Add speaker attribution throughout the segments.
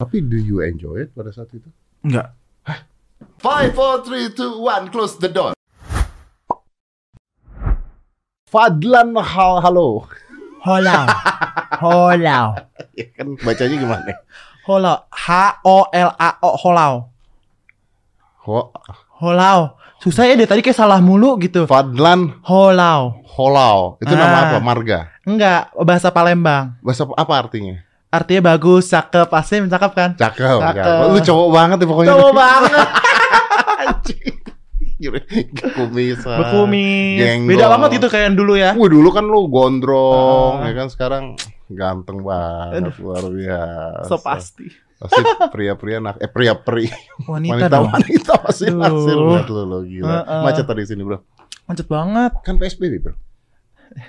Speaker 1: Tapi do you enjoy it pada saat itu?
Speaker 2: Enggak.
Speaker 1: Five, four, three, two, one, close the door. Fadlan hal halo.
Speaker 2: Holau. Holau.
Speaker 1: Ya kan bacanya gimana?
Speaker 2: Holau. H-O-L-A-O. Holau.
Speaker 1: Ho
Speaker 2: Holau. Susah ya dia tadi kayak salah mulu gitu.
Speaker 1: Fadlan
Speaker 2: Holau.
Speaker 1: Holau. Itu nama
Speaker 2: Ah.
Speaker 1: apa? Marga.
Speaker 2: Enggak, bahasa Palembang.
Speaker 1: Bahasa apa artinya?
Speaker 2: Artinya bagus, cakep, asli cakep kan?
Speaker 1: Cakep.
Speaker 2: Cakep.
Speaker 1: cakep. Lu cowok banget ya pokoknya.
Speaker 2: Cowok banget.
Speaker 1: Anjing. Kumisan.
Speaker 2: Berkumis.
Speaker 1: Jenggol.
Speaker 2: Beda banget gitu kayak yang dulu ya.
Speaker 1: Wih dulu kan lu gondrong,
Speaker 2: Ah.
Speaker 1: ya kan sekarang ganteng banget luar biasa.
Speaker 2: So pasti.
Speaker 1: Pasti pria-pria nak eh pria-pria
Speaker 2: Wanita,
Speaker 1: wanita
Speaker 2: dong.
Speaker 1: wanita pasti
Speaker 2: Aduh.
Speaker 1: naksir banget lu lu gila.
Speaker 2: Heeh.
Speaker 1: Macet tadi sini, Bro.
Speaker 2: Macet banget.
Speaker 1: Kan PSBB, Bro.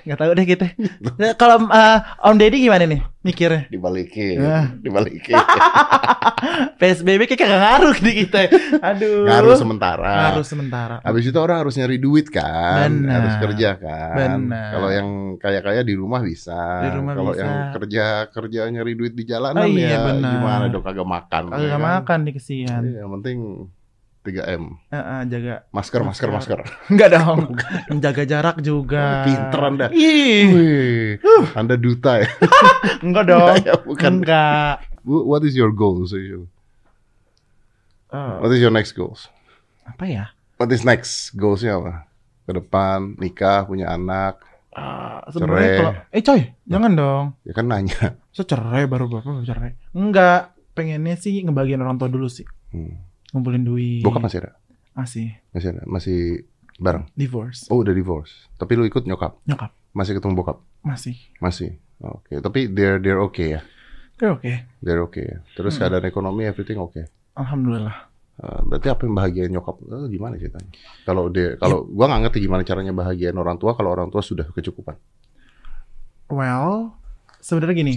Speaker 2: Gak tahu deh kita. Nah, Kalau eh, Om Deddy gimana nih mikirnya?
Speaker 1: Dibalikin,
Speaker 2: Ah.
Speaker 1: dibalikin.
Speaker 2: PSBB kayak gak ngaruh di kita. Aduh.
Speaker 1: Ngaruh sementara.
Speaker 2: Ngaruh sementara.
Speaker 1: Habis itu orang harus nyari duit kan,
Speaker 2: Benar.
Speaker 1: harus kerja kan.
Speaker 2: Benar.
Speaker 1: Kalau yang kaya-kaya di rumah bisa.
Speaker 2: Di rumah
Speaker 1: Kalau
Speaker 2: bisa.
Speaker 1: yang kerja kerja nyari duit di jalanan
Speaker 2: Oh,
Speaker 1: ya
Speaker 2: iya, benar.
Speaker 1: gimana dong kagak makan.
Speaker 2: Kalau
Speaker 1: ya
Speaker 2: gak
Speaker 1: kan?
Speaker 2: makan nih kesian.
Speaker 1: Iya, yang penting 3M.
Speaker 2: Heeh, jaga.
Speaker 1: Masker, masker, masker.
Speaker 2: Enggak dong. Menjaga jarak juga.
Speaker 1: Pinter Anda.
Speaker 2: Ih,
Speaker 1: Wih, Anda duta ya?
Speaker 2: enggak dong. Hmm.
Speaker 1: ya bukan.
Speaker 2: Enggak.
Speaker 1: Wh- What is your goals? Yul?
Speaker 2: Eh,
Speaker 1: What is your next goals?
Speaker 2: apa ya?
Speaker 1: What is next goalsnya apa? Ke depan, nikah, punya anak.
Speaker 2: Eh, sebenarnya
Speaker 1: Ah, Cerai.
Speaker 2: kalau eh coy, jangan dong.
Speaker 1: Ya kan nanya.
Speaker 2: Saya cerai baru bapak baru cerai. Enggak, pengennya sih ngebagiin orang tua dulu sih.
Speaker 1: Hmm.
Speaker 2: Ngumpulin duit.
Speaker 1: Bokap masih ada?
Speaker 2: Masih.
Speaker 1: Masih ada? Masih bareng?
Speaker 2: Divorce.
Speaker 1: Oh, udah divorce. Tapi lu ikut nyokap?
Speaker 2: Nyokap
Speaker 1: Masih ketemu bokap?
Speaker 2: masih.
Speaker 1: Masih. Oke, tapi they're they're okay ya.
Speaker 2: Oke, oke.
Speaker 1: They're okay. ya? Terus
Speaker 2: Hmm.
Speaker 1: keadaan ekonomi everything oke.
Speaker 2: Alhamdulillah.
Speaker 1: Eh, berarti apa yang bahagia nyokap Eh, gimana ceritanya? Kalau dia kalau
Speaker 2: Ya.
Speaker 1: gua nggak ngerti gimana caranya bahagiain orang tua kalau orang tua sudah kecukupan.
Speaker 2: Well, sebenarnya gini.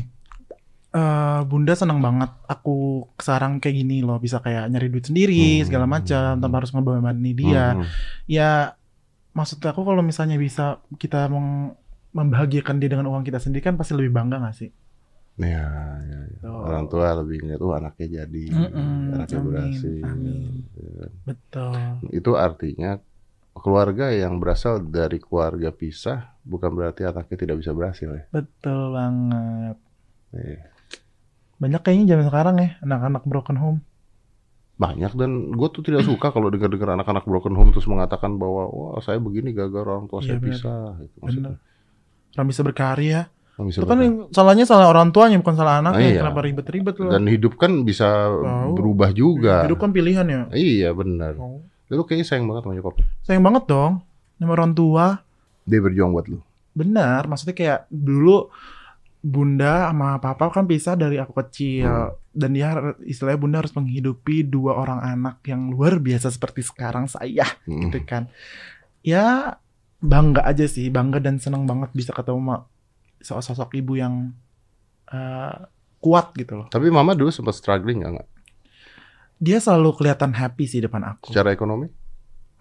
Speaker 2: eh bunda senang banget aku sekarang kayak gini loh bisa kayak nyari duit sendiri
Speaker 1: Hmm.
Speaker 2: segala macam tanpa harus ngebebani dia
Speaker 1: Hmm,
Speaker 2: ya maksud aku kalau misalnya bisa kita meng- membahagiakan dia dengan uang kita sendiri kan pasti lebih bangga gak sih?
Speaker 1: hmm.
Speaker 2: Gitu.
Speaker 1: Ya, ya, ya.
Speaker 2: Tuh.
Speaker 1: orang tua lebih ngeliat tuh anaknya jadi,
Speaker 2: Oh. Mm-mm,
Speaker 1: anaknya
Speaker 2: amin,
Speaker 1: berhasil.
Speaker 2: amin. Betul.
Speaker 1: Itu artinya keluarga yang berasal dari keluarga pisah bukan berarti anaknya tidak bisa berhasil ya.
Speaker 2: Betul banget.
Speaker 1: Iya.
Speaker 2: Banyak kayaknya zaman sekarang ya anak-anak broken home.
Speaker 1: Banyak dan gue tuh tidak suka kalau dengar-dengar anak-anak broken home terus mengatakan bahwa wah saya begini gara-gara orang tua saya
Speaker 2: Iya, benar.
Speaker 1: pisah. Gitu.
Speaker 2: Bener. Orang bisa berkarya.
Speaker 1: orang bisa
Speaker 2: Itu kan
Speaker 1: berkata-
Speaker 2: yang salahnya salah orang tuanya bukan salah anaknya.
Speaker 1: Iya.
Speaker 2: Kenapa ribet-ribet loh?
Speaker 1: Dan hidup kan bisa
Speaker 2: Wow.
Speaker 1: berubah juga.
Speaker 2: Hidup kan pilihan ya.
Speaker 1: Iya benar.
Speaker 2: Oh.
Speaker 1: Lu kayaknya sayang banget sama nyokap.
Speaker 2: Sayang banget dong sama orang tua.
Speaker 1: Dia berjuang buat lu.
Speaker 2: Benar, maksudnya kayak dulu bunda sama papa kan pisah dari aku
Speaker 1: Hmm.
Speaker 2: kecil dan dia har- istilahnya bunda harus menghidupi dua orang anak yang luar biasa seperti sekarang saya
Speaker 1: Mm.
Speaker 2: gitu kan ya bangga aja sih bangga dan senang banget bisa ketemu sama sosok sosok ibu yang eh, kuat gitu loh
Speaker 1: Tapi mama dulu sempat struggling nggak nggak?
Speaker 2: dia selalu kelihatan happy sih depan aku
Speaker 1: Secara ekonomi?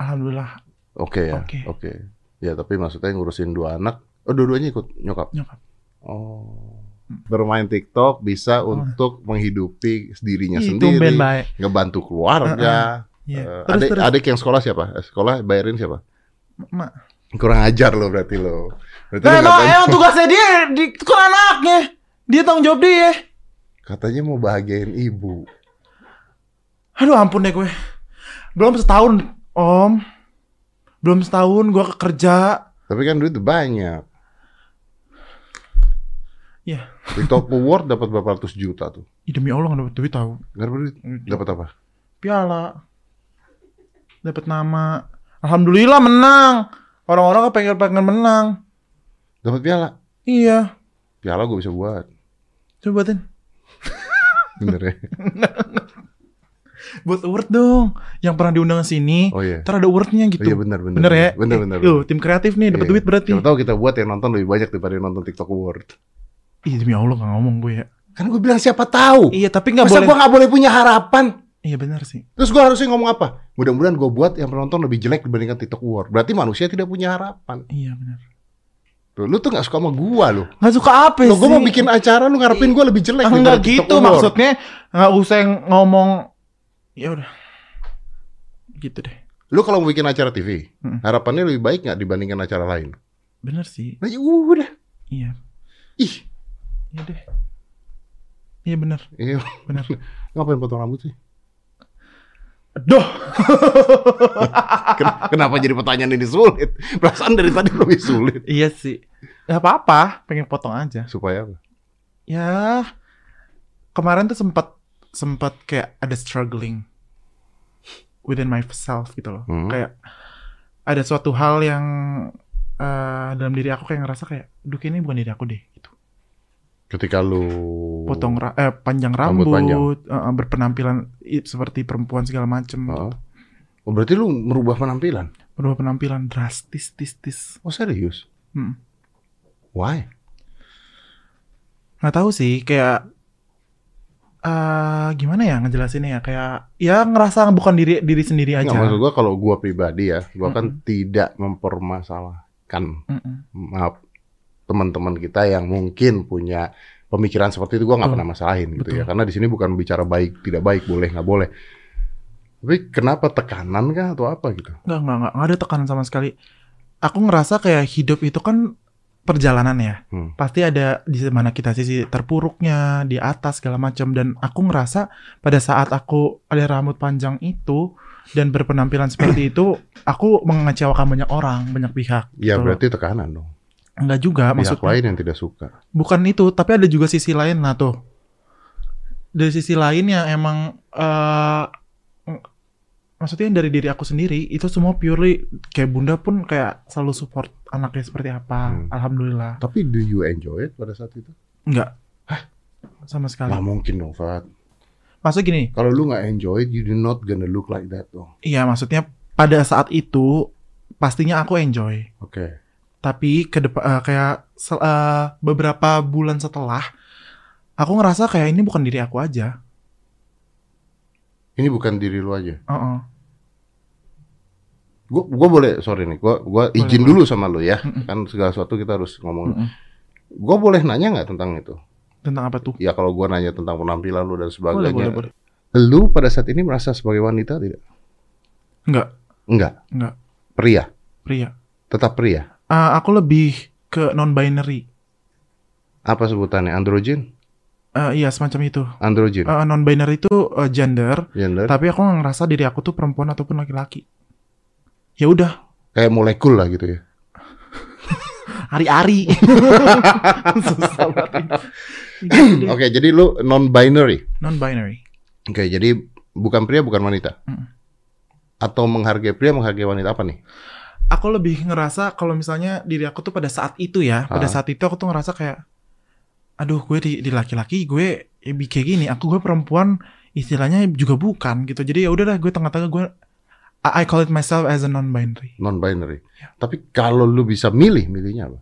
Speaker 2: alhamdulillah
Speaker 1: Oke ya. Oke.
Speaker 2: Oke.
Speaker 1: Ya tapi maksudnya ngurusin dua anak. Oh dua-duanya ikut nyokap.
Speaker 2: nyokap
Speaker 1: Oh. Bermain TikTok bisa
Speaker 2: Oh.
Speaker 1: untuk menghidupi dirinya
Speaker 2: Ih,
Speaker 1: sendiri,
Speaker 2: tumben baik
Speaker 1: ngebantu keluarga.
Speaker 2: Gitu,
Speaker 1: Eh,
Speaker 2: Iya. terus
Speaker 1: adik,
Speaker 2: terus
Speaker 1: adik yang sekolah siapa? Eh, Sekolah bayarin siapa?
Speaker 2: Mak.
Speaker 1: Kurang ajar lo berarti lo. Berarti lo
Speaker 2: nah, emang,
Speaker 1: nggak-
Speaker 2: emang tugasnya dia di ke anaknya dia tanggung jawab dia
Speaker 1: katanya mau bahagiain ibu.
Speaker 2: aduh ampun deh gue belum setahun om belum setahun gue kerja
Speaker 1: Tapi kan duit banyak.
Speaker 2: Iya.
Speaker 1: TikTok Award dapat berapa ratus juta tuh.
Speaker 2: Ih, demi allah nggak dapet duit tahu
Speaker 1: Gak dapat duit. Dapat apa?
Speaker 2: piala dapat nama alhamdulillah menang orang-orang kepengen pengen menang
Speaker 1: Dapat piala.
Speaker 2: iya
Speaker 1: Piala gue bisa buat.
Speaker 2: coba buatin
Speaker 1: Bener ya.
Speaker 2: buat award dong yang pernah diundang ke sini
Speaker 1: Oh iya.
Speaker 2: ntar ada awardnya gitu
Speaker 1: Oh, iya benar benar.
Speaker 2: bener ya
Speaker 1: Benar
Speaker 2: Eh,
Speaker 1: benar.
Speaker 2: loh, tim kreatif nih dapat duit berarti
Speaker 1: Iya, Siapa tahu kita buat yang nonton lebih banyak daripada yang nonton TikTok Award.
Speaker 2: Ih, demi allah gak ngomong gue ya
Speaker 1: Kan gue bilang siapa tahu.
Speaker 2: iya tapi nggak
Speaker 1: Masa
Speaker 2: boleh
Speaker 1: gue nggak boleh punya harapan?
Speaker 2: iya benar sih
Speaker 1: Terus gue harusnya ngomong apa? Mudah-mudahan gue buat yang penonton lebih jelek dibandingkan TikTok Award. Berarti manusia tidak punya harapan.
Speaker 2: iya benar
Speaker 1: Tuh, lu tuh gak suka sama gua lu.
Speaker 2: Nggak suka apa
Speaker 1: Lu
Speaker 2: sih?
Speaker 1: gua mau bikin acara lu ngarepin gua lebih jelek.
Speaker 2: Ah,
Speaker 1: daripada
Speaker 2: Enggak
Speaker 1: TikTok
Speaker 2: gitu
Speaker 1: umur.
Speaker 2: maksudnya nggak usah yang ngomong ya udah gitu deh
Speaker 1: Lu kalau mau bikin acara TV,
Speaker 2: Mm.
Speaker 1: harapannya lebih baik nggak dibandingkan acara lain?
Speaker 2: bener sih
Speaker 1: Nah, ya udah.
Speaker 2: iya
Speaker 1: Ih,
Speaker 2: iya deh iya bener
Speaker 1: iya.
Speaker 2: bener
Speaker 1: ngapain potong rambut sih?
Speaker 2: aduh
Speaker 1: Ken- Kenapa jadi pertanyaan ini sulit? Perasaan dari tadi lebih sulit.
Speaker 2: iya sih nggak apa-apa pengen potong aja
Speaker 1: Supaya apa?
Speaker 2: ya kemarin tuh sempat sempat kayak ada struggling within myself gitu loh
Speaker 1: Hmm.
Speaker 2: kayak ada suatu hal yang eh, dalam diri aku kayak ngerasa kayak duh kayaknya ini bukan diri aku deh gitu
Speaker 1: Ketika lu
Speaker 2: potong ra- eh, panjang
Speaker 1: Oh. Rambut
Speaker 2: rambut,
Speaker 1: panjang.
Speaker 2: eh, eh, berpenampilan i- seperti perempuan segala macem
Speaker 1: Oh. Oh, berarti lu merubah penampilan?
Speaker 2: berubah penampilan drastis tis tis
Speaker 1: Oh serius?
Speaker 2: Hmm.
Speaker 1: Why?
Speaker 2: nggak tahu sih kayak eh gimana ya ngejelasinnya ya kayak ya ngerasa bukan diri diri sendiri aja
Speaker 1: Nggak, maksud gua kalau gua pribadi ya, gua kan
Speaker 2: Mm-mm.
Speaker 1: tidak mempermasalahkan
Speaker 2: Mm-mm.
Speaker 1: maaf teman-teman kita yang mungkin punya pemikiran seperti itu gua nggak
Speaker 2: Betul.
Speaker 1: pernah masalahin gitu
Speaker 2: Mm. Betul.
Speaker 1: ya karena di sini bukan bicara baik tidak baik boleh nggak boleh tapi kenapa tekanan kah atau apa gitu
Speaker 2: Nggak, nggak, nggak. Nggak ada tekanan sama sekali. Aku ngerasa kayak hidup itu kan perjalanan ya.
Speaker 1: Hmm.
Speaker 2: Pasti ada di mana kita sisi terpuruknya, di atas segala macam. Dan aku ngerasa pada saat aku ada rambut panjang itu dan berpenampilan seperti itu, aku mengecewakan banyak orang, banyak pihak.
Speaker 1: ya
Speaker 2: Betul.
Speaker 1: berarti tekanan dong
Speaker 2: Enggak juga,
Speaker 1: pihak
Speaker 2: maksudnya
Speaker 1: lain yang tidak suka
Speaker 2: bukan itu, tapi ada juga sisi lain nah tuh. Dari sisi lain yang emang eh ng- maksudnya dari diri aku sendiri itu semua purely kayak Bunda pun kayak selalu support anaknya seperti apa.
Speaker 1: Hmm.
Speaker 2: Alhamdulillah.
Speaker 1: tapi do you enjoy it pada saat itu
Speaker 2: Enggak. Sama sekali.
Speaker 1: nggak mungkin dong Fat
Speaker 2: Maksudnya gini,
Speaker 1: kalau lu nggak enjoy it, you do not gonna look like that dong
Speaker 2: iya maksudnya pada saat itu pastinya aku enjoy.
Speaker 1: oke
Speaker 2: tapi ke depan kayak sel- eh, beberapa bulan setelah aku ngerasa kayak ini bukan diri aku aja.
Speaker 1: ini bukan diri lu aja
Speaker 2: Heeh.
Speaker 1: gua gua boleh sorry nih gua gua izin
Speaker 2: Boleh,
Speaker 1: dulu sama lu ya
Speaker 2: Mm-mm.
Speaker 1: kan segala sesuatu kita harus ngomong
Speaker 2: Mm-mm.
Speaker 1: gua boleh nanya nggak tentang itu
Speaker 2: Tentang apa tuh?
Speaker 1: ya kalau gua nanya tentang penampilan lu dan sebagainya
Speaker 2: Boleh, boleh, boleh.
Speaker 1: Lu pada saat ini merasa sebagai wanita tidak?
Speaker 2: Enggak,
Speaker 1: Enggak.
Speaker 2: enggak,
Speaker 1: Pria.
Speaker 2: pria.
Speaker 1: Tetap pria.
Speaker 2: Eh, aku lebih ke non-binary.
Speaker 1: Apa sebutannya? Androgen?
Speaker 2: Eh, iya, semacam itu.
Speaker 1: Androgen.
Speaker 2: Eh, non-binary itu eh, gender,
Speaker 1: Gender.
Speaker 2: tapi aku nggak ngerasa diri aku tuh perempuan ataupun laki-laki. Ya udah,
Speaker 1: Kayak molekul lah gitu ya.
Speaker 2: hari-hari. Susah banget. ini.
Speaker 1: Oke, jadi lu non-binary.
Speaker 2: Non-binary.
Speaker 1: Oke, jadi bukan pria, bukan wanita.
Speaker 2: Mm.
Speaker 1: Atau menghargai pria, menghargai wanita apa nih?
Speaker 2: aku lebih ngerasa kalau misalnya diri aku tuh pada saat itu ya, pada
Speaker 1: Ah.
Speaker 2: saat itu aku tuh ngerasa kayak, aduh gue di, di laki-laki gue ya, bi- kayak gini, aku gue perempuan istilahnya juga bukan gitu. Jadi ya udahlah gue tengah-tengah gue I I call it myself as a non-binary.
Speaker 1: Non-binary.
Speaker 2: Ya.
Speaker 1: Tapi kalau lu bisa milih, milihnya apa?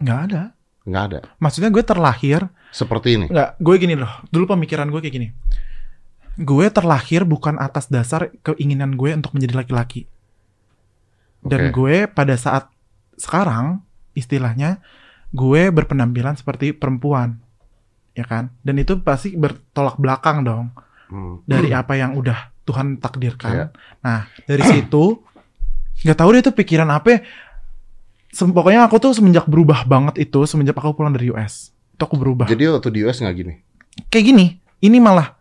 Speaker 2: Nggak ada.
Speaker 1: Nggak ada.
Speaker 2: Maksudnya gue terlahir,
Speaker 1: Seperti ini.
Speaker 2: nggak, gue gini loh. Dulu pemikiran gue kayak gini. Gue terlahir bukan atas dasar keinginan gue untuk menjadi laki-laki. dan
Speaker 1: Oke.
Speaker 2: gue pada saat sekarang istilahnya gue berpenampilan seperti perempuan ya kan dan itu pasti bertolak belakang dong
Speaker 1: Hmm.
Speaker 2: dari apa yang udah
Speaker 1: Iya.
Speaker 2: Tuhan takdirkan nah dari situ nggak tahu deh itu pikiran apa ya. Sem- pokoknya aku tuh semenjak berubah banget itu semenjak aku pulang dari US itu aku berubah
Speaker 1: Jadi waktu di US nggak gini?
Speaker 2: kayak gini ini malah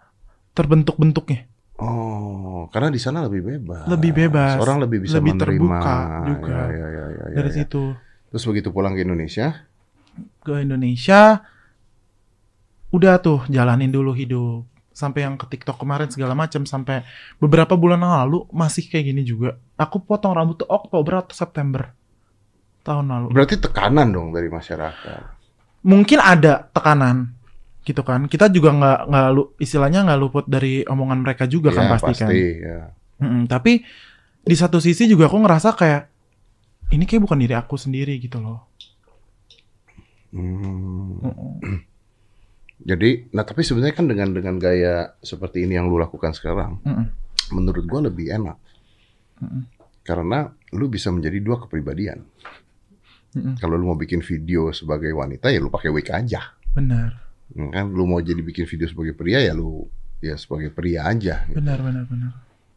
Speaker 2: terbentuk-bentuknya
Speaker 1: Oh, karena di sana lebih bebas.
Speaker 2: Lebih bebas.
Speaker 1: Orang lebih bisa
Speaker 2: Lebih
Speaker 1: menerima.
Speaker 2: terbuka juga.
Speaker 1: Ya, ya, ya, ya, ya,
Speaker 2: dari
Speaker 1: ya.
Speaker 2: situ
Speaker 1: Terus begitu pulang ke Indonesia,
Speaker 2: ke Indonesia udah tuh jalanin dulu hidup sampai yang ke TikTok kemarin segala macam sampai beberapa bulan yang lalu masih kayak gini juga aku potong rambut tuh Oktober atau September tahun lalu
Speaker 1: berarti tekanan dong dari masyarakat.
Speaker 2: mungkin ada tekanan gitu kan kita juga nggak nggak lu- istilahnya nggak luput dari omongan mereka juga kan
Speaker 1: Ya,
Speaker 2: pasti kan
Speaker 1: pasti ya.
Speaker 2: Mm-mm, tapi di satu sisi juga aku ngerasa kayak ini kayak bukan diri aku sendiri gitu loh
Speaker 1: Hmm.
Speaker 2: Mm-mm.
Speaker 1: Jadi, nah tapi sebenarnya kan dengan dengan gaya seperti ini yang lu lakukan sekarang,
Speaker 2: Mm-mm.
Speaker 1: menurut gua lebih enak.
Speaker 2: Mm-mm.
Speaker 1: Karena lu bisa menjadi dua kepribadian.
Speaker 2: Mm-mm.
Speaker 1: Kalau lu mau bikin video sebagai wanita ya lu pakai wig aja.
Speaker 2: Benar,
Speaker 1: Ya Kan lu mau jadi bikin video sebagai pria ya lu ya sebagai pria aja. gitu.
Speaker 2: benar, benar, benar.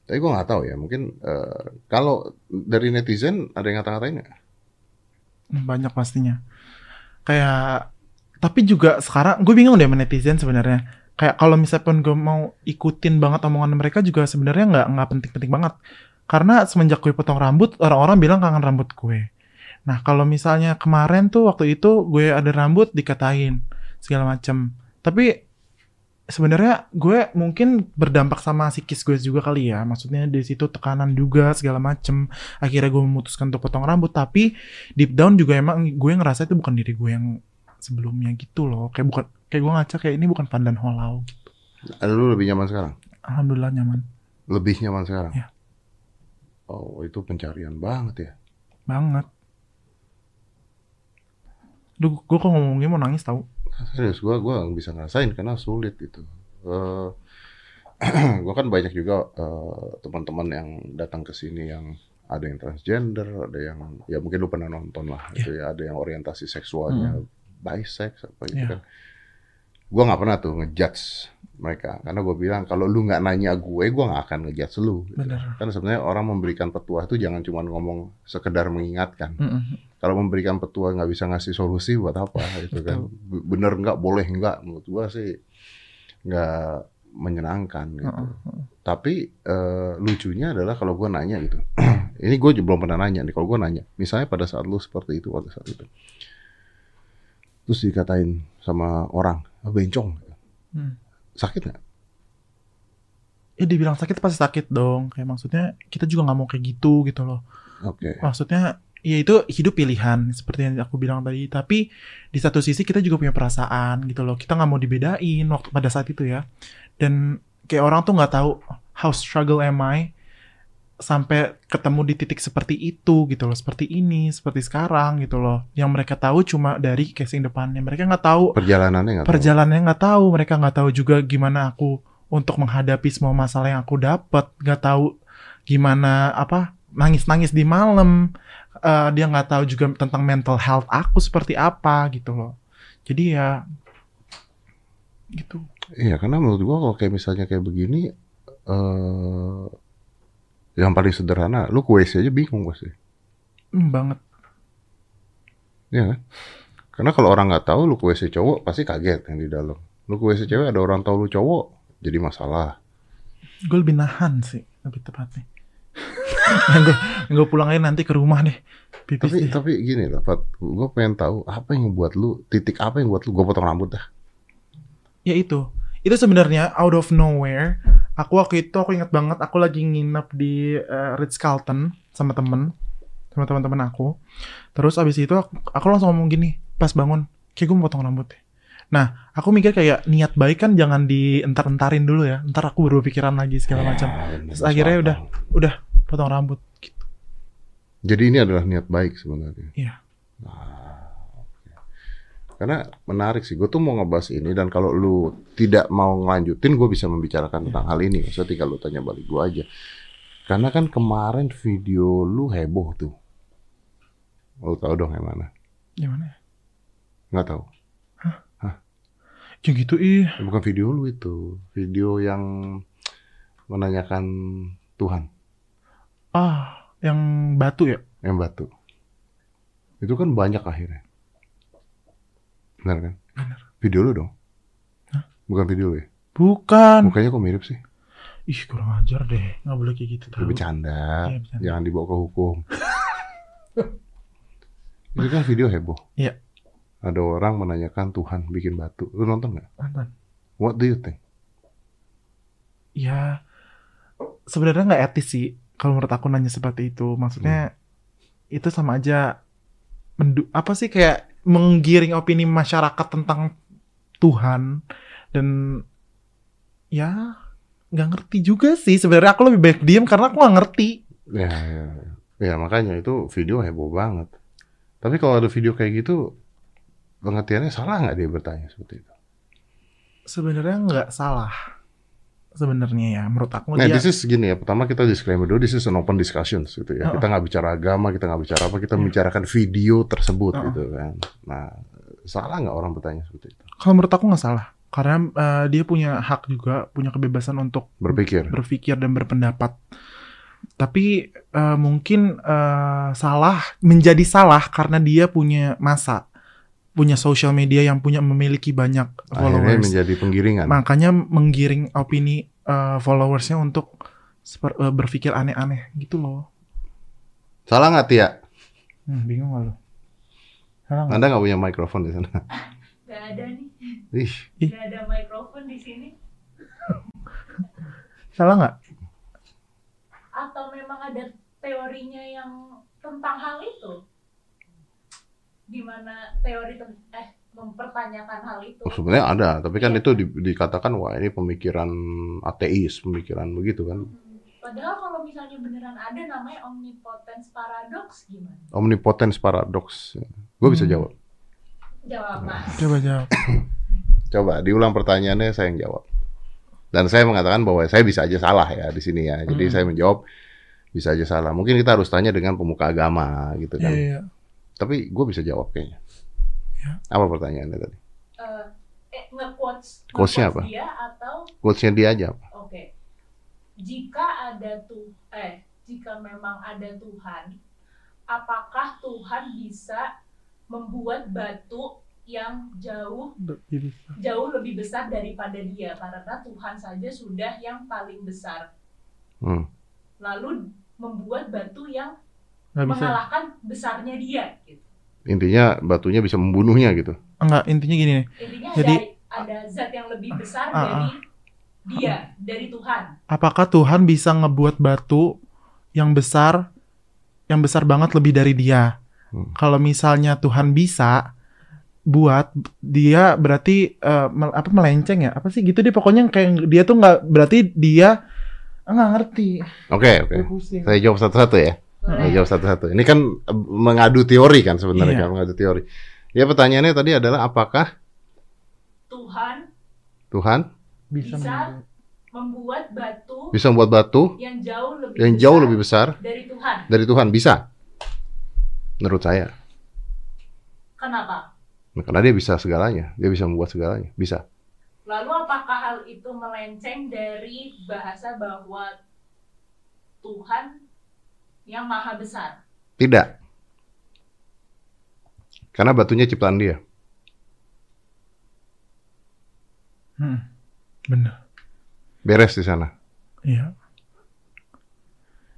Speaker 1: Tapi gua nggak tahu ya, mungkin eh, kalau dari netizen ada yang ngata-ngatain nggak?
Speaker 2: Hmm, Banyak pastinya. Kayak tapi juga sekarang gue bingung deh sama netizen sebenarnya. Kayak kalau misalkan gue mau ikutin banget omongan mereka juga sebenarnya nggak nggak penting-penting banget. Karena semenjak gue potong rambut, orang-orang bilang kangen rambut gue. Nah, kalau misalnya kemarin tuh waktu itu gue ada rambut dikatain segala macem. Tapi sebenarnya gue mungkin berdampak sama psikis gue juga kali ya. Maksudnya di situ tekanan juga segala macem. Akhirnya gue memutuskan untuk potong rambut. Tapi deep down juga emang gue ngerasa itu bukan diri gue yang sebelumnya gitu loh. Kayak bukan kayak gue ngaca kayak ini bukan Pandan Holau.
Speaker 1: Lu lebih nyaman sekarang?
Speaker 2: Alhamdulillah nyaman
Speaker 1: Lebih nyaman sekarang?
Speaker 2: Iya.
Speaker 1: Oh itu pencarian banget ya.
Speaker 2: banget. Duh, gue kok ngomongnya mau nangis tau.
Speaker 1: Serius gue gua nggak bisa ngerasain karena sulit gitu. Eh gue kan banyak juga eh, teman-teman yang datang ke sini yang ada yang transgender, ada yang ya mungkin lu pernah nonton lah gitu ya, ada yang orientasi seksualnya bisex apa gitu
Speaker 2: Iya.
Speaker 1: kan. Gue nggak pernah tuh ngejudge mereka karena gue bilang kalau lu nggak nanya gue, gue nggak akan ngejudge lu. gitu.
Speaker 2: Bener.
Speaker 1: Kan sebenarnya orang memberikan petua itu jangan cuma ngomong sekedar mengingatkan
Speaker 2: Mm-mm.
Speaker 1: kalau memberikan petua nggak bisa ngasih solusi buat apa gitu kan B- bener nggak boleh nggak menurut gua sih nggak menyenangkan gitu
Speaker 2: Mm-mm.
Speaker 1: tapi eh, lucunya adalah kalau gua nanya gitu ini gue belum pernah nanya nih kalau gua nanya misalnya pada saat lu seperti itu pada saat itu terus dikatain sama orang "Ah, bencong
Speaker 2: Hmm.
Speaker 1: sakit nggak
Speaker 2: Ya dibilang sakit pasti sakit dong. Kayak maksudnya kita juga nggak mau kayak gitu gitu loh.
Speaker 1: oke
Speaker 2: maksudnya ya itu hidup pilihan seperti yang aku bilang tadi tapi di satu sisi kita juga punya perasaan gitu loh kita nggak mau dibedain waktu pada saat itu ya dan kayak orang tuh nggak tahu how struggle am I sampai ketemu di titik seperti itu gitu loh seperti ini seperti sekarang gitu loh yang mereka tahu cuma dari casing depannya mereka nggak tahu
Speaker 1: perjalanannya nggak tahu.
Speaker 2: perjalanannya nggak tahu mereka nggak tahu juga gimana aku untuk menghadapi semua masalah yang aku dapat nggak tahu gimana apa nangis-nangis di malam Eh, dia nggak tahu juga tentang mental health aku seperti apa gitu loh jadi ya gitu
Speaker 1: Iya, karena menurut gua kalau kayak misalnya kayak begini, eh yang paling sederhana, lu ke WC aja bingung pasti,
Speaker 2: Hmm, banget
Speaker 1: Iya kan? Karena kalau orang nggak tahu lu ke WC cowok, pasti kaget yang di dalam. Lu ke WC cewek ada orang tahu lu cowok, jadi masalah.
Speaker 2: gue lebih nahan sih lebih tepatnya gue gue pulang aja nanti ke rumah deh pipis
Speaker 1: Tapi
Speaker 2: deh.
Speaker 1: tapi gini lah, Fat, gua pengen tahu apa yang buat lu titik apa yang buat lu gua potong rambut dah.
Speaker 2: ya itu itu sebenarnya out of nowhere aku waktu itu aku ingat banget aku lagi nginep di eh, Ritz Carlton sama temen sama teman-teman aku terus abis itu aku, aku langsung ngomong gini pas bangun kayak gue mau potong rambut deh nah aku mikir kayak niat baik kan jangan dientar-entarin dulu ya ntar aku berubah pikiran lagi
Speaker 1: Ya,
Speaker 2: segala macam Terus akhirnya udah. udah potong rambut gitu
Speaker 1: Jadi ini adalah niat baik sebenarnya.
Speaker 2: Iya.
Speaker 1: Nah, oke. Karena menarik sih, gue tuh mau ngebahas ini dan kalau lu tidak mau ngelanjutin, gue bisa membicarakan tentang hal ini. Maksudnya tinggal lu tanya balik gue aja. Karena kan kemarin video lu heboh tuh. Lu tahu dong yang mana?
Speaker 2: gimana ya
Speaker 1: Nggak tahu.
Speaker 2: ya gitu ih
Speaker 1: Ya, Bukan video lu itu, video yang menanyakan Tuhan
Speaker 2: ah yang batu ya
Speaker 1: yang batu. Itu kan banyak akhirnya. Benar kan? Video lu dong. Bukan video lu ya?
Speaker 2: bukan
Speaker 1: Mukanya kok mirip sih?
Speaker 2: ih kurang ajar deh nggak boleh kayak gitu
Speaker 1: Ya,
Speaker 2: tahu
Speaker 1: bercanda.
Speaker 2: Iya, bercanda.
Speaker 1: Jangan dibawa ke hukum. Itu kan video heboh.
Speaker 2: Iya.
Speaker 1: Ada orang menanyakan Tuhan bikin batu. Lu nonton nggak?
Speaker 2: Mantan.
Speaker 1: What do you think?
Speaker 2: ya sebenarnya nggak etis sih kalau menurut aku nanya seperti itu maksudnya itu sama aja mendu apa sih kayak menggiring opini masyarakat tentang Tuhan dan ya nggak ngerti juga sih sebenarnya aku lebih baik diam karena aku nggak ngerti
Speaker 1: Ya, ya, ya. Ya, makanya itu video heboh banget. Tapi kalau ada video kayak gitu, pengertiannya salah nggak dia bertanya seperti itu?
Speaker 2: sebenarnya nggak salah sebenarnya ya menurut aku
Speaker 1: Nah,
Speaker 2: dia
Speaker 1: this is gini ya. Pertama kita disclaimer dulu, this is an open discussion gitu ya.
Speaker 2: Uh-uh.
Speaker 1: Kita nggak bicara agama, kita nggak bicara apa, kita
Speaker 2: Iya.
Speaker 1: membicarakan video tersebut
Speaker 2: Uh-uh.
Speaker 1: gitu kan. Nah, salah nggak orang bertanya seperti itu?
Speaker 2: kalau menurut aku nggak salah karena eh, dia punya hak juga punya kebebasan untuk
Speaker 1: Berpikir.
Speaker 2: berpikir dan berpendapat tapi eh, mungkin eh, salah menjadi salah karena dia punya masa punya social media yang punya memiliki banyak
Speaker 1: Akhirnya
Speaker 2: followers
Speaker 1: menjadi penggiringan.
Speaker 2: makanya menggiring opini eh, followersnya untuk seper- eh, berpikir aneh-aneh gitu loh
Speaker 1: Salah nggak Tia?
Speaker 2: Hmm, bingung gak lo Salah nggak?
Speaker 1: Anda nggak punya mikrofon di sana?
Speaker 3: Gak ada nih,
Speaker 1: Ih,
Speaker 2: Ih.
Speaker 3: gak ada mikrofon di sini.
Speaker 2: salah nggak
Speaker 3: Atau memang ada teorinya yang tentang hal itu? Dimana teori ten- eh mempertanyakan hal itu?
Speaker 1: oh, sebenarnya ada, tapi kan
Speaker 3: Iya.
Speaker 1: itu di- dikatakan wah ini pemikiran ateis, pemikiran begitu kan.
Speaker 3: Hmm, Padahal kalau misalnya beneran ada namanya omnipotence paradox gimana?
Speaker 1: Omnipotence paradox. Gue bisa
Speaker 2: Hmm.
Speaker 1: jawab.
Speaker 3: Jawab mas.
Speaker 2: coba jawab
Speaker 1: Coba diulang pertanyaannya saya yang jawab. Dan saya mengatakan bahwa saya bisa aja salah ya di sini ya. Jadi
Speaker 2: Hmm.
Speaker 1: saya menjawab bisa aja salah. Mungkin kita harus tanya dengan pemuka agama gitu
Speaker 2: Iya,
Speaker 1: kan.
Speaker 2: iya.
Speaker 1: Tapi gue bisa jawab kayaknya.
Speaker 2: Ya.
Speaker 1: Apa pertanyaannya tadi?
Speaker 3: Eh, eh nge-quotes
Speaker 1: Quotes-nya
Speaker 3: nge-quotes dia atau
Speaker 1: Quotes-nya dia aja. apa?
Speaker 3: oke jika ada tuh eh jika memang ada Tuhan apakah Tuhan bisa membuat batu yang jauh
Speaker 2: Jadi,
Speaker 3: jauh lebih besar daripada dia karena Tuhan saja sudah yang paling besar
Speaker 1: Hmm.
Speaker 3: lalu membuat batu yang
Speaker 2: nggak bisa
Speaker 3: mengalahkan besarnya dia gitu.
Speaker 1: Intinya batunya bisa membunuhnya gitu.
Speaker 2: Enggak, intinya gini nih.
Speaker 3: intinya
Speaker 2: Jadi-
Speaker 3: ada, ada zat yang lebih besar
Speaker 2: Ah, ah.
Speaker 3: dari dia dari Tuhan
Speaker 2: Apakah Tuhan bisa ngebuat batu yang besar, yang besar banget lebih dari dia?
Speaker 1: Hmm.
Speaker 2: Kalau misalnya Tuhan bisa buat dia berarti eh, mel- apa melenceng ya? Apa sih gitu deh pokoknya kayak dia tuh nggak berarti dia ah, nggak ngerti.
Speaker 1: Oke, oke.
Speaker 2: Gue pusing.
Speaker 1: Saya jawab satu-satu ya. Saya
Speaker 3: Boleh?
Speaker 1: jawab satu-satu. Ini kan eh, mengadu teori kan sebenarnya
Speaker 2: Iya.
Speaker 1: kan mengadu teori. Ya pertanyaannya tadi adalah apakah
Speaker 3: Tuhan
Speaker 1: Tuhan
Speaker 2: Bisa.
Speaker 3: Bisa.
Speaker 2: menurut-
Speaker 3: membuat batu
Speaker 1: bisa membuat batu
Speaker 3: yang jauh lebih
Speaker 1: yang
Speaker 3: besar
Speaker 1: jauh lebih besar
Speaker 3: dari Tuhan.
Speaker 1: dari Tuhan bisa? Menurut saya.
Speaker 3: Kenapa?
Speaker 1: Nah, Karena dia bisa segalanya, dia bisa membuat segalanya, bisa.
Speaker 3: Lalu apakah hal itu melenceng dari bahasa bahwa Tuhan yang maha besar?
Speaker 1: Tidak. Karena batunya ciptaan dia.
Speaker 2: Hmm. Bener.
Speaker 1: Beres di sana.
Speaker 2: Iya.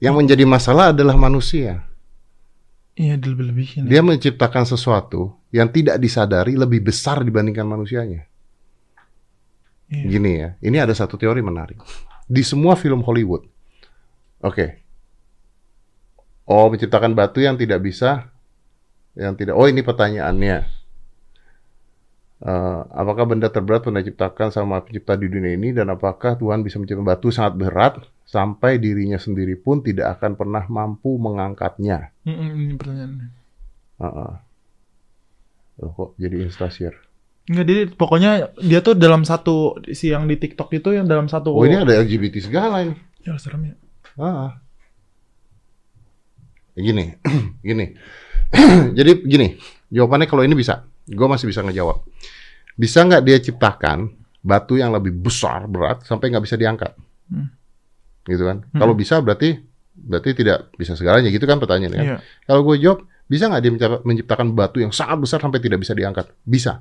Speaker 1: Yang menjadi masalah adalah manusia.
Speaker 2: Iya dilebih-lebihin.
Speaker 1: Dia menciptakan sesuatu yang tidak disadari lebih besar dibandingkan manusianya.
Speaker 2: Iya.
Speaker 1: Gini ya, ini ada satu teori menarik. Di semua film Hollywood. Oke. Oh, menciptakan batu yang tidak bisa yang tidak. Oh, ini pertanyaannya. Eh, apakah benda terberat pernah diciptakan sama pencipta di dunia ini dan apakah Tuhan bisa menciptakan batu sangat berat sampai dirinya sendiri pun tidak akan pernah mampu mengangkatnya?
Speaker 2: Mm-mm, ini pertanyaannya.
Speaker 1: Heeh. Loh, kok jadi instasir?
Speaker 2: Enggak, jadi pokoknya dia tuh dalam satu si yang di TikTok itu yang dalam satu
Speaker 1: Oh, ini ada LGBT segala ini.
Speaker 2: Ya serem ya.
Speaker 1: Ah. Gini, gini. Jadi gini, jawabannya kalau ini bisa, gue masih bisa ngejawab. Bisa nggak dia ciptakan batu yang lebih besar berat sampai nggak bisa diangkat,
Speaker 2: Hmm.
Speaker 1: gitu kan?
Speaker 2: Hmm.
Speaker 1: Kalau bisa berarti berarti tidak bisa segalanya, gitu kan pertanyaannya? kan?
Speaker 2: Iya.
Speaker 1: Kalau gue jawab, bisa nggak dia mencipta- menciptakan batu yang sangat besar sampai tidak bisa diangkat? Bisa,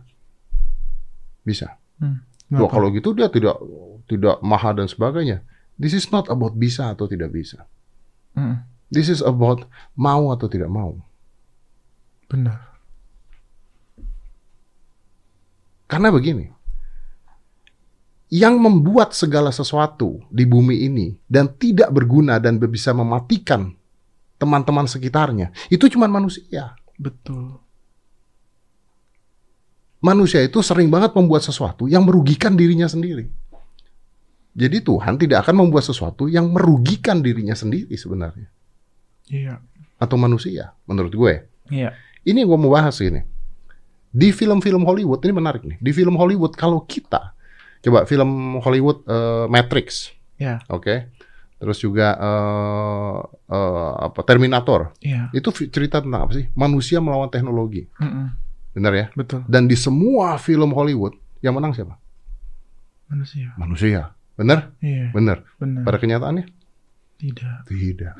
Speaker 1: bisa. Wah,
Speaker 2: Kenapa?
Speaker 1: kalau gitu dia tidak tidak maha dan sebagainya. This is not about bisa atau tidak bisa.
Speaker 2: Mm,
Speaker 1: This is about mau atau tidak mau.
Speaker 2: benar.
Speaker 1: Karena begini, yang membuat segala sesuatu di bumi ini dan tidak berguna dan bisa mematikan teman-teman sekitarnya, itu cuma manusia.
Speaker 2: Betul.
Speaker 1: Manusia itu sering banget membuat sesuatu yang merugikan dirinya sendiri. Jadi Tuhan tidak akan membuat sesuatu yang merugikan dirinya sendiri sebenarnya.
Speaker 2: Iya.
Speaker 1: Atau manusia, menurut gue.
Speaker 2: Iya.
Speaker 1: Ini yang gue mau bahas ini. Di film-film Hollywood ini menarik nih. Di film Hollywood kalau kita Coba film Hollywood eh, Matrix.
Speaker 2: Ya.
Speaker 1: Oke. Terus juga eh eh, apa Terminator.
Speaker 2: Iya.
Speaker 1: Itu fi- cerita tentang apa sih? Manusia melawan teknologi.
Speaker 2: Mm-mm.
Speaker 1: Benar ya?
Speaker 2: Betul.
Speaker 1: Dan di semua film Hollywood yang menang siapa?
Speaker 2: Manusia.
Speaker 1: Manusia. Benar?
Speaker 2: Iya.
Speaker 1: Benar.
Speaker 2: Benar.
Speaker 1: Pada kenyataannya?
Speaker 2: Tidak.
Speaker 1: Tidak.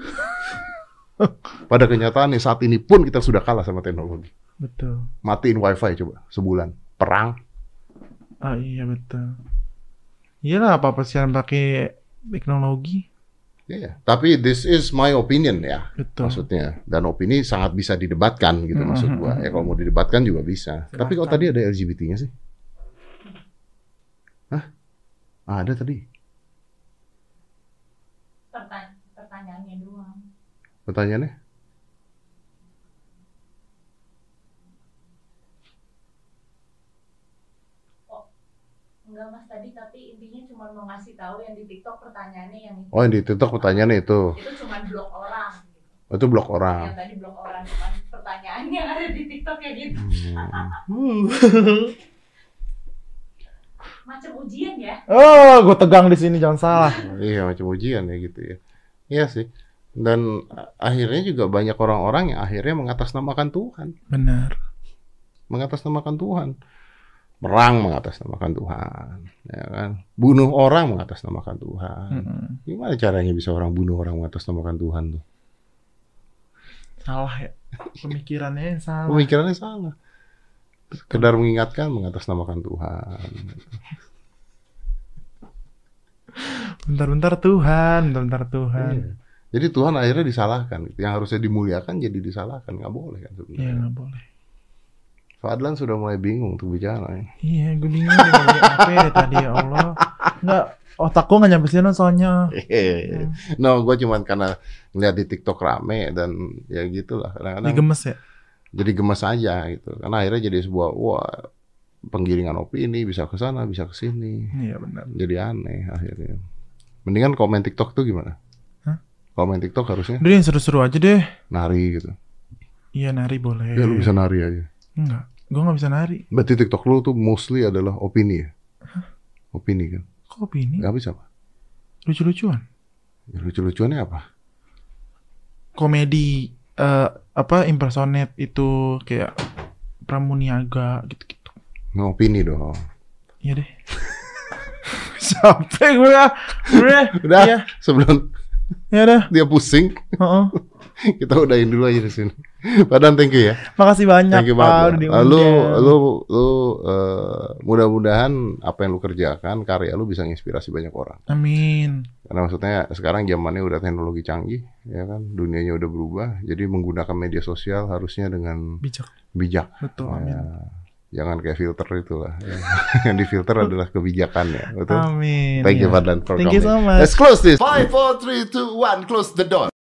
Speaker 1: Pada kenyataannya saat ini pun kita sudah kalah sama teknologi.
Speaker 2: Betul.
Speaker 1: Matiin wifi coba sebulan. Perang
Speaker 2: Ah iya betul. Iyalah apa apa sih yang pakai teknologi?
Speaker 1: Iya, ya. tapi this is my opinion ya
Speaker 2: Betul.
Speaker 1: maksudnya. Dan opini sangat bisa didebatkan gitu
Speaker 2: Mm,
Speaker 1: maksud
Speaker 2: mm,
Speaker 1: gua.
Speaker 2: mm,
Speaker 1: Ya kalau mau didebatkan juga bisa. Tapi kalau tadi
Speaker 2: Silahkan.
Speaker 1: ada LGBT-nya sih? Hah? Ah, Ada tadi.
Speaker 3: Pertanya- pertanyaannya doang.
Speaker 1: Pertanyaannya?
Speaker 3: Enggak mas tadi tapi intinya cuma mau ngasih tahu yang di TikTok pertanyaannya yang itu.
Speaker 1: Oh, yang di TikTok pertanyaannya itu. Oh,
Speaker 3: Itu cuma blok orang. Gitu.
Speaker 1: Itu blok
Speaker 3: Yang
Speaker 1: orang.
Speaker 3: tadi blok orang cuman pertanyaannya yang ada di TikTok kayak gitu.
Speaker 1: Hmm.
Speaker 3: Macam ujian ya.
Speaker 2: Oh, gue tegang di sini jangan salah.
Speaker 1: Iya, macam ujian ya gitu ya. Iya sih. Dan a- akhirnya juga banyak orang-orang yang akhirnya mengatasnamakan Tuhan.
Speaker 2: Benar.
Speaker 1: mengatasnamakan Tuhan. Perang mengatasnamakan Tuhan, ya kan? Bunuh orang mengatasnamakan Tuhan.
Speaker 2: Mm-mm.
Speaker 1: Gimana caranya bisa orang bunuh orang mengatasnamakan Tuhan tuh?
Speaker 2: Salah ya. Pemikirannya yang salah.
Speaker 1: Pemikirannya salah. Sekedar mengingatkan mengatasnamakan Tuhan.
Speaker 2: Bentar-bentar Tuhan, bentar-bentar Tuhan.
Speaker 1: Iya. Jadi Tuhan akhirnya disalahkan. gitu. Yang harusnya dimuliakan jadi disalahkan. Nggak boleh kan
Speaker 2: Iya
Speaker 1: sebenarnya.
Speaker 2: nggak boleh.
Speaker 1: Fadlan sudah mulai bingung untuk bicara. ya.
Speaker 2: Iya, gue bingung dia ngomongin apa ya tadi ya Allah. Nggak, otak gue nggak nyampe sini soalnya. Ya.
Speaker 1: no, gue cuman karena ngeliat di TikTok rame dan ya gitulah. Kadang-kadang
Speaker 2: Digemes ya.
Speaker 1: jadi gemes aja gitu karena akhirnya jadi sebuah wah penggiringan opini bisa ke sana bisa ke sini
Speaker 2: Iya benar.
Speaker 1: jadi aneh akhirnya mendingan komen TikTok tuh gimana
Speaker 2: Hah?
Speaker 1: komen TikTok harusnya
Speaker 2: Udah yang seru-seru aja deh.
Speaker 1: nari gitu
Speaker 2: Iya nari boleh.
Speaker 1: ya lu bisa nari aja
Speaker 2: Enggak, gue nggak bisa nari.
Speaker 1: berarti TikTok lu tuh mostly adalah opini ya opini kan
Speaker 2: Kok ini
Speaker 1: nggak bisa apa
Speaker 2: lucu-lucuan?
Speaker 1: Ya, lucu-lucuannya apa
Speaker 2: komedi eh, apa impersonate itu kayak Pramuniaga gitu-gitu.
Speaker 1: ngopini dong
Speaker 2: Iya deh. Sampai gue ya. Udah.
Speaker 1: udah
Speaker 2: Iya,
Speaker 1: sebelum
Speaker 2: ya udah.
Speaker 1: dia pusing
Speaker 2: Heeh.
Speaker 1: kita udahin dulu aja di sini Padahal thank you ya
Speaker 2: Makasih banyak
Speaker 1: Thank you
Speaker 2: Pak
Speaker 1: banget.
Speaker 2: udah
Speaker 1: Lu
Speaker 2: diundang.
Speaker 1: lu lu, eh, mudah-mudahan apa yang lu kerjakan karya lu bisa menginspirasi banyak orang.
Speaker 2: Amin.
Speaker 1: Karena maksudnya sekarang zamannya udah teknologi canggih, ya kan, dunianya udah berubah. Jadi menggunakan media sosial harusnya dengan
Speaker 2: Bijak.
Speaker 1: bijak.
Speaker 2: Betul, Oh, amin.
Speaker 1: Ya, jangan kayak filter itulah. Ya. yang difilter adalah kebijakannya. Betul.
Speaker 2: Amin.
Speaker 1: Thank you
Speaker 2: ya.
Speaker 1: Fadlan for
Speaker 2: Thank you
Speaker 1: coming.
Speaker 2: so much.
Speaker 1: Let's close this. 5 4 3 2 1 close the door.